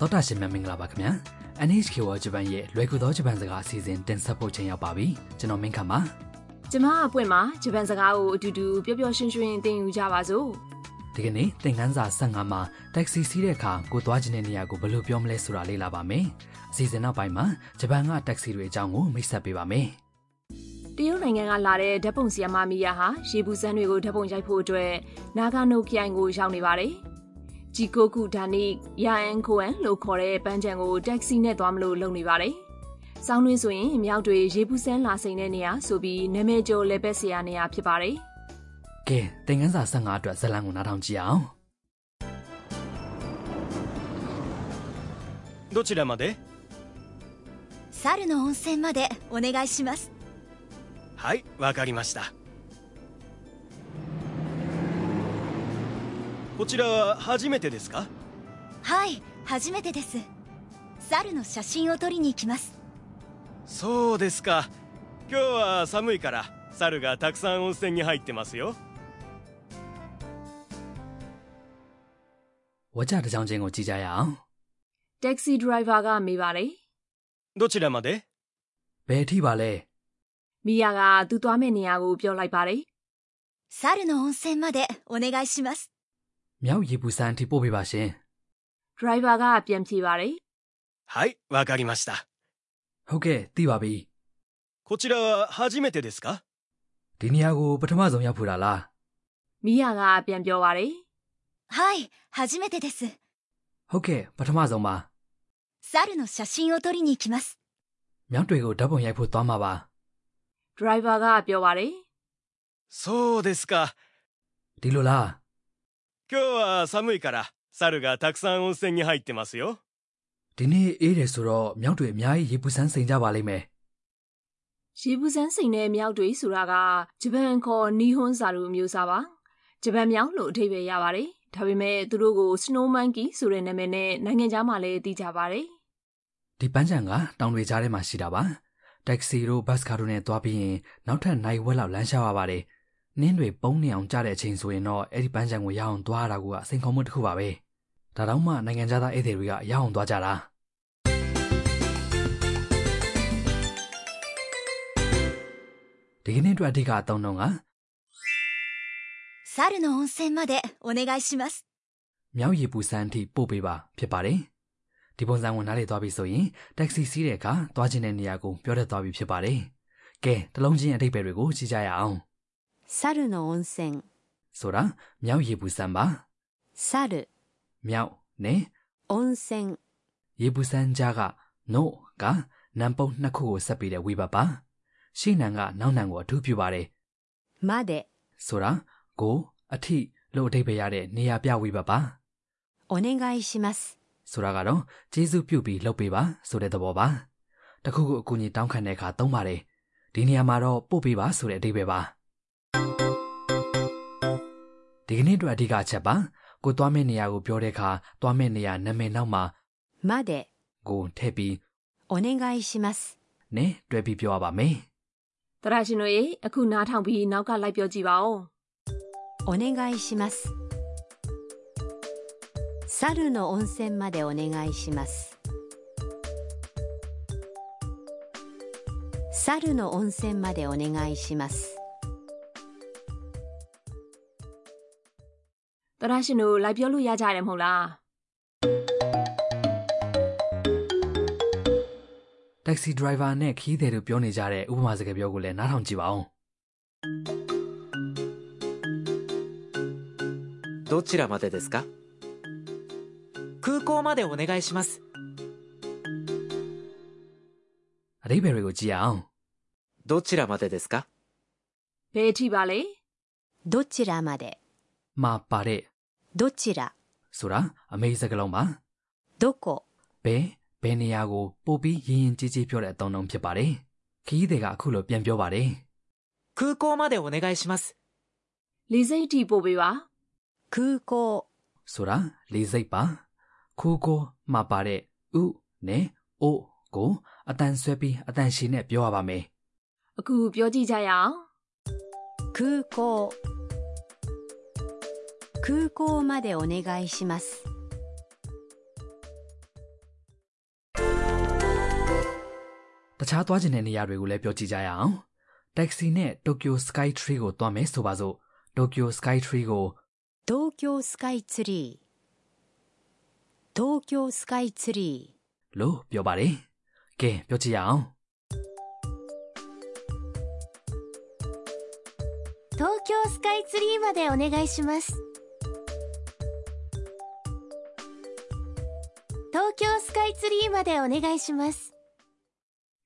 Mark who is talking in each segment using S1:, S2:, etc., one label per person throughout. S1: သောတာရှင်များမင်္ဂလာပါခင်ဗျာ NHK World Japan ရဲ့လွယ်ကူသောဂျပန်စကားအစီအစဉ်တင်ဆက်ဖို့ချိန်ရောက်ပါပြီကျွန်တော်မင်းခမ်းပါ
S2: ကျမအပွင့်မှာဂျပန်စကားကိုအတူတူပျော်ပျော်ရွှင်ရွှင်သင်ယူကြပါစို့
S1: ဒီကနေ့သင်ခန်းစာ15မှာတက္ကစီစီးတဲ့အခါကိုသွားခြင်းတဲ့နေရာကိုဘယ်လိုပြောမလဲဆိုတာလေ့လာပါမယ်အစီအစဉ်နောက်ပိုင်းမှာဂျပန်ကတက္ကစီတွေအကြောင်းကိုမိတ်ဆက်ပေးပါမယ်
S2: တရုတ်နိုင်ငံကလာတဲ့ဓာတ်ပုံဆီယမမီယာဟာရေပူစမ်းတွေကိုဓာတ်ပုံရိုက်ဖို့အတွက်နာဂနိုခရိုင်ကိုရောက်နေပါတယ်ဂျီကိုကူဒါနိယာအန်ကိုအန်လို့ခေါ်တဲ့ပန်းချံကိုတက္ကစီနဲ့သွားမလို့လုပ်နေပါတယ်ဆောင်းတွင်းဆိုရင်မြောက်တွေရေပူစမ်းလာစိန်တဲ့နေရာဆိုပြီးနာမည်ကျော်လေပက်ဆီယာနေရာဖြစ်ပါတယ်
S1: ကဲသင်ခန်းစာ15အတွက်ဇာတ်လမ်းကိုနားထောင်ကြည့်အောင်
S3: どちらまで
S4: 猿の温泉までお願いします
S3: はいわかりましたこちらは初めてですか
S4: はい初めてです猿の写真を撮りに行きます
S3: そうですか今日は寒いから猿がたくさん温泉に入ってますよ
S1: ဝါကြတစ်ကြောင်ချင်းကိုကြည့်ကြရအောင်
S2: တက္ကစီဒရိုင်ဘာကမေးပါတယ်
S3: どちらまで
S1: ဘယ်အထိပါလဲ
S2: ။မီယာကသူသွားမယ့်နေရာကိုပြောလိုက်ပါတယ်
S4: 猿の温泉までお願いします
S1: မြောက်ရေပူစမ်းအထိပို့ပေးပါရှင်
S2: ။ဒရိုင်ဘာကပြန်ဖြေပါတယ်
S3: はいわかりました
S1: ဟုတ်ကဲ့သိပါပြီ
S3: こちらは初めてですか
S1: ဒီနေရာကိုပထမဆုံးရောက်ဖို့တာလား
S2: ။မီယာကပြန်ပြောပါတယ်
S4: はい初めてです
S1: ဟုတ်ကဲ့ပထမဆုံးပါ
S4: 猿の写真を撮りに行きます
S1: မြောက်တွေကိုဓာတ်ပုံရိုက်ဖို့သွားမှာပါ
S2: ။ဒရိုင်ဘာကပြောပါတယ်
S3: そうですか
S1: ဒီလိုလား
S3: 今日は寒いから猿がたくさん温泉に入ってますよ
S1: ဒီနေ့အေးတယ်ဆိုတော့မြောက်တွေအများကြီးရေပူစမ်းစိန်ကြပါလိမ့်မယ်
S2: ။ရေပူစမ်းစိန်နဲ့မြောက်တွေဆိုတာကဂျပန်ခေါ်နီဟွန်းစာလူအမျိုးအစားပါ။ဂျပန်မြောက်လို့အဓိပ္ပာယ်ရပါတယ်။ဒါပေမဲ့သူတို့ကို Snow Monkey ဆိုတဲ့နာမည်နဲ့နိုင်ငံခြားမှာလည်းသိကြပါတယ်
S1: ဒီပန်းချံကတောင်တွေကြားထဲမှာရှိတာပါတက္ကစီတို့ဘတ်စကားတို့နဲ့သွားပြီးရင်နောက်ထပ်နိုင်ဝက်လောက်လမ်းလျှောက်ရပါတယ်နင်းတွေပုံနေအောင်ကြားတဲ့အချိန်ဆိုရင်တော့အဲ့ဒီပန်းချံကိုရအောင်သွားရတာကအစိန်ခေါ်မှုတစ်ခုပါပဲဒါတောင်မှနိုင်ငံခြားသားဧည့်သည်တွေကရအောင်သွားကြတာဒီကနေ့အတွက်အဓိကအသုံးတော့က
S4: 猿の温泉までお願いします
S1: မြောက်ရီပူစမ်းအထိပို့ပေးပါဖြစ်ပါတယ်။ဒီပုံစံဝင်နားလေသွားပြီဆိုရင်တက္ကစီစီးတဲ့အခါသွားခြင်းတဲ့နေရာကိုပြောတတ်သွားပြီဖြစ်ပါတယ်။ကဲတလုံးချင်းအတိတ်ပဲတွေကိုကြည့်ကြရအောင်
S5: 猿の温泉
S1: ။ဆိုတာမြောက်ရီပူစမ်းပါ
S5: 猿
S1: ။မြောက်နဲ့
S5: 温泉
S1: ရီပူစမ်းကြားက no ကနံပုံနှစ်ခုကိုဆက်ပြီးတဲ့ဝေဘပါ။ရှေ့နံကနောက်နံကိုအထူးပြုပါတယ်
S5: まで
S1: ။ဆိုတာကိုအထိလို့အတိတ်ပဲရတဲ့နေရာပြဝေဘပါ
S5: お願いします
S1: ။ဆိုတာကတော့ကျေးဇူးပြုပြီးလုပ်ပေးပါဆိုတဲ့သဘောပါ။တစ်ခုခုအကူအညီတောင်းခံတဲ့အခါသုံးပါတယ်။ဒီနေရာမှာတော့ပို့ပေးပါဆိုတဲ့အဓိပ္ပာယ်ပါ။ဒီကနေ့အတွက်အဓိကအချက်ပါ။ကိုသွားမယ့်နေရာကိုပြောတဲ့အခါသွားမယ့်နေရာနာမည်နောက်မှာ
S5: まで
S1: ကိုထည့်ပြီး
S5: お願いします
S1: နဲ့တွဲပြီးပြောရပါမယ်
S2: ။သရရှင်တို့ရေအခုနားထောင်ပြီးနောက်ကလိုက်ပြောကြည့်ပါဦး
S5: お願いします猿の温泉までお願いします猿の温泉までお願いします
S2: ။သရရှင်တို့လိုက်ပြောလို့ရကြတယ်မဟုတ်လား။
S1: ။တက္ကစီဒရိုင်ဘာနဲ့ခီးသည်တို့ပြောနေကြတဲ့ဥပမာစကားပြောကိုလည်းနားထောင်ကြည့်ပါဦး
S6: どちらまでですか空港までお願いします
S1: ။အဓိပ္ပာယ်တွေကိုကြည့်ရအောင်
S6: どちらまでですか
S2: ဘယ်အထိပါလဲ
S5: どちらまで
S1: ။မှာပါတဲ့
S5: どちら
S1: ဆိုတာအမေစကားလုံးပါ။
S5: どこ
S1: ဘယ်ဘယ်နေရာကိုပို့ပြီးရင်ရင်ကြည်ကြည်ပြောတဲ့အသုံးအနှုန်းဖြစ်ပါတယ်။ခရီးသည်ကအခုလိုပြန်ပြောပါတယ်
S6: 空港までお願いします
S2: လေစိတ်အထိပို့ပေးပါ
S5: 空港
S1: ။ဆိုတာလေးစိတ်ပါ။ခူကိုမှပါတဲ့ဥနဲ့အိုကိုအတန်ဆွဲပြီးအတန်ရှည်နဲ့ပြောရပါမယ်
S2: အခုပြောကြည့်ကြရအောင်
S5: 空港空港までお願いします
S1: ခြားသွားခြင်းတဲ့နေရာတွေကိုလည်းပြောကြည့်ကြရအောင်တက္ကစီနဲ့ Tokyo Sky Tree ကိုသွားမယ်ဆိုပါစို့ Tokyo Sky Tree ကို
S5: 東京スカイツリー東京スカイツリ
S1: လို့ပြောပါတယ်ကဲပြောကြည့်ရအောင်
S4: 東京スカイツリーまでお願いします東京スカイツリーまでお願いします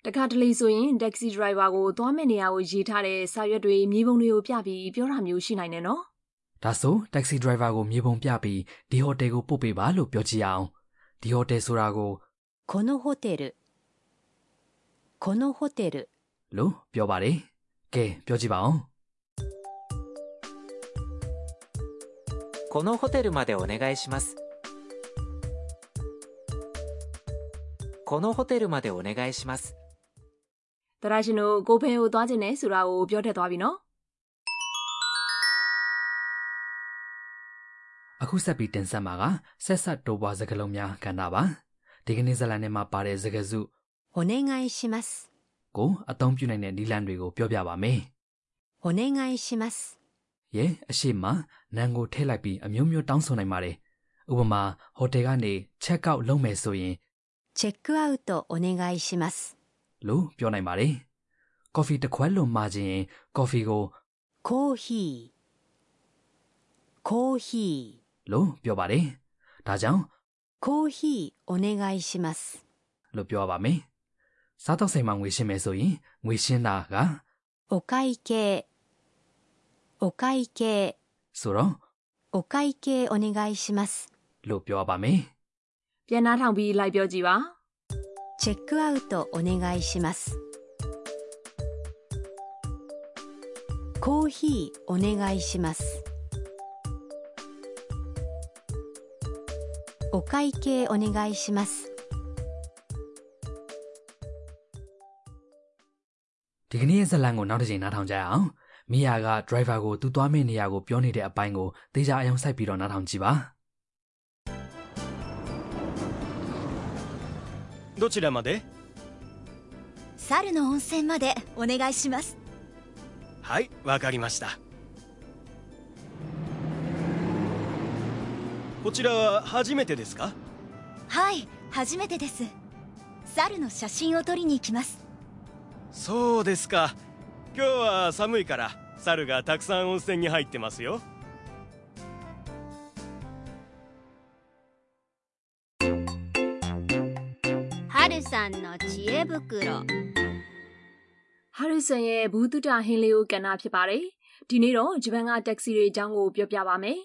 S2: တခါတလေဆိုရင်တက္ကစီဒရိုင်ဘာကိုသွားမယ့်နေရာကိုရေးထားတဲ့စာရွက်တွေမြေပုံတွေကိုပြပြီးပြောတာမျိုးရှိနိုင်တယ်နော်
S1: ဒါဆိုတက္ကစီဒရိုင်ဘာကိုမြေပုံပြပြီးဒီဟိုတယ်ကိုပို့ပေးပါလို့ပြောကြည့်ရအောင်ဒီဟိုတယ်ဆိုတာကို
S5: ーこのホテルこのホテル
S1: လို့ပြောပါတယ်ကဲပြောကြည့်ပါအောင်
S6: このホテルまでお願いしますこのホテルまでお願いします
S2: တရာရှင်တို့ကိုဘဲကိုသွားခြင်းနဲ့ဆိုတာကိုပြောတတ်သွားပြီနော်
S1: အခုဆက်ပြီးတင်ဆက်မှာကဆက်ဆက်တိုးပွားစကားလုံးများကဏ္ဍပါဒီကနေ့ဇတ်လန်ထဲမှာပါတဲ့စကားစု
S5: お願いします
S1: ကိုအသုံးပြုနိုင်တဲ့နည်းလမ်းတွေကိုပြောပြပါမယ်
S5: お願いします
S1: ရဲအရှိမနန်ကိုထည့်လိုက်ပြီးအမျိုးမျိုးတောင်းဆိုနိုင်ပါတယ်ဥပမာဟိုတယ်ကနေ check out လုပ်မယ်ဆိုရင်
S5: チェックアウトお願いします
S1: လို့ပြောနိုင်ပါတယ်။ကော်ဖီတစ်ခွက်လို့မှာခြင်းကော်ဖီကို
S5: コーヒーコーヒー
S1: လို့ပြောပါတယ်။ဒါကြောင့်
S5: コーヒーお願いします
S1: လို့ပြောရပါမယ်။စားတော့ဆိုင်မှာငွေရှင်းမယ်ဆိုရင်ငွေရှင်းတာက
S5: お会計お会計
S1: ဆိုတော့
S5: お会計お願いします
S1: လို့ပြောရပါမယ်
S2: ပြန်နှားထောင်ပြီးလိုက်ပြောကြည့်ပါ
S5: チェックアウトお願いしますコーヒーお願いしますお会計お願いします
S1: ။ဒီကနေ့ရဲ့ဇတ်လံကိုနောက်တစ်ချိန်နားထောင်ကြရအောင်။မိယာကဒရိုင်ဘာကိုသူ့သွားမယ့်နေရာကိုပြောနေတဲ့အပိုင်းကိုသေချာအယောင်ဆိုင်ပြီးတော့နားထောင်ကြည့်ပါ
S3: どちらまで
S4: 猿の温泉までお願いします
S3: はいわかりましたこちらは初めてですか
S4: はい初めてです猿の写真を撮りに行きます
S3: そうですか今日は寒いから猿がたくさん温泉に入ってますよ
S7: 春さんの知恵袋
S2: ဟာရီဆန်ရဲ့ဘူးတုတဟင်းလေးကိုကဏ္ဍဖြစ်ပါတယ်ဒီနေ့တော့ဂျပန်ကတက္ကစီတွေအကြောင်းကိုပြောပြပါမယ်
S1: ။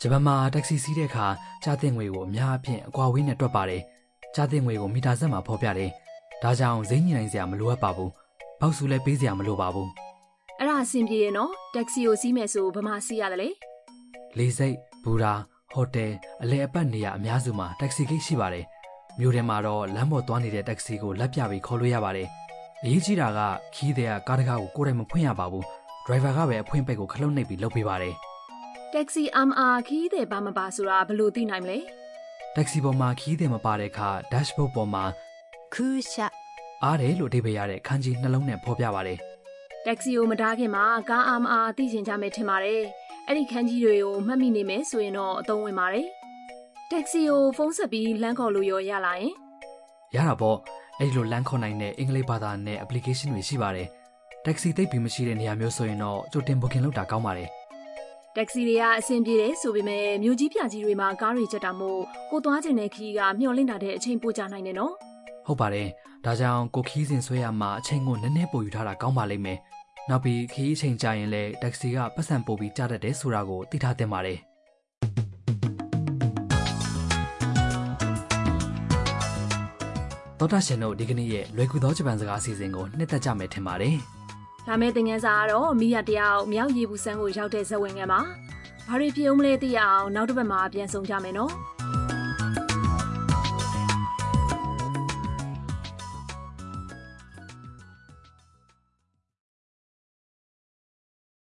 S1: ဂျပန်မှာတက္ကစီစီးတဲ့အခါကြားတဲ့ငွေကိုအများအပြားအကွာဝေးနဲ့တွက်ပါတယ်။ကြားတဲ့ငွေကိုမီတာဆက်မှာဖော်ပြတယ်။ဒါကြောင့်ဈေးညှိနိုင်စရာမလိုအပ်ပါဘူး။ဘောက်စုလည်းပေးစရာမလိုပါဘူး။
S2: အဲ့ဒါအဆင်ပြေရဲ့နော်တက္ကစီကိုစီးမယ်ဆိုဗမာစီးရတယ်လေ
S1: လေစိတ်ဘူရာဟိုတယ်အလဲအပတ်နေရာအများစုမှာတက္ကစီဂိတ်ရှိပါတယ်မြို့ထဲမှာတော့လမ်းပေါ်သွားနေတဲ့တက္ကစီကိုလက်ပြပြီးခေါ်လို့ရပါတယ်အရေးကြီးတာကခီးတဲ့ကကားတကားကိုကိုယ်တိုင်မဖွင့်ရပါဘူးဒရိုင်ဘာကပဲအဖွင့်ပိတ်ကိုခလုတ်နှိပ်ပြီးလုပ်ပေးပါတယ်
S2: တက္ကစီ MR ခီးတဲ့ဘာမပါဆိုတာဘယ်လိုသိနိုင်မလဲ
S1: တက္ကစီပေါ်မှာခီးတဲ့မပါတဲ့အခါ dashboard ပေါ်မှာ
S5: 空車
S1: အားတယ်လို့အဓိပ္ပာယ်ရတဲ့ခန်းကြီးနှလုံးနဲ့ဖော်ပြပါတယ်
S2: တက္ကစီကိုမတားခင်မှာကား MR သိချင်ကြမယ်ထင်ပါတယ်အဲ့ဒီခန်းကြီးတွေကိုမှတ်မိနေမယ်ဆိုရင်တော့အသုံးဝင်ပါတယ်တက္ကစီကိုဖုန်းဆက်ပြီးလမ်းခေါ်လို့ရောရလာရင်
S1: ရတာပေါ့အဲ့ဒီလိုလမ်းခေါ်နိုင်တဲ့အင်္ဂလိပ်ဘာသာနဲ့ application တွေရှိပါတယ်တက္ကစီသိပ်ပြီးမရှိတဲ့နေရာမျိုးဆိုရင်တော့ကြိုတင် booking လုပ်တာကောင်းပါတယ်
S2: တက္ကစီတွေကအဆင်ပြေတယ်ဆိုပေမဲ့မြို့ကြီးပြကြီးတွေမှာကားတွေချက်တာမို့ကိုသွားချင်တဲ့ခီးကမျောလင့်တာတဲ့အချိန်ပို့ကြနိုင်တယ်နော်
S1: ဟုတ်ပါတယ်။ဒါကြောင့်ကိုခီးစဉ်ဆွဲရမှာအချိန်ကိုနည်းနည်းပိုယူထားတာကောင်းပါလိမ့်မယ်။နောက်ပြီးခီးအချိန်ကြာရင်လည်းတက္ကစီကပတ်စံပို့ပြီးကြားတတ်တယ်ဆိုတာကိုသိထားသင့်ပါတယ်။တော်တာရှင်တို့ဒီကနေ့ရဲ့လွယ်ကူသောဂျပန်စကားအစီအစဉ်ကိုနှစ်သက်ကြမယ်ထင်ပါတယ်
S2: ဒါမဲ့သင်ငန်းစာကတော့မိရတယောက်မြောက်ရေဘူးစန်းကိုရောက်တဲ့ဇဝင်ငန်းပါဘာတွေဖြစ်အောင်မလဲသိရအောင်နောက်တစ်ပတ်မှာပြန်ဆောင်ကြမယ်နော်
S1: ။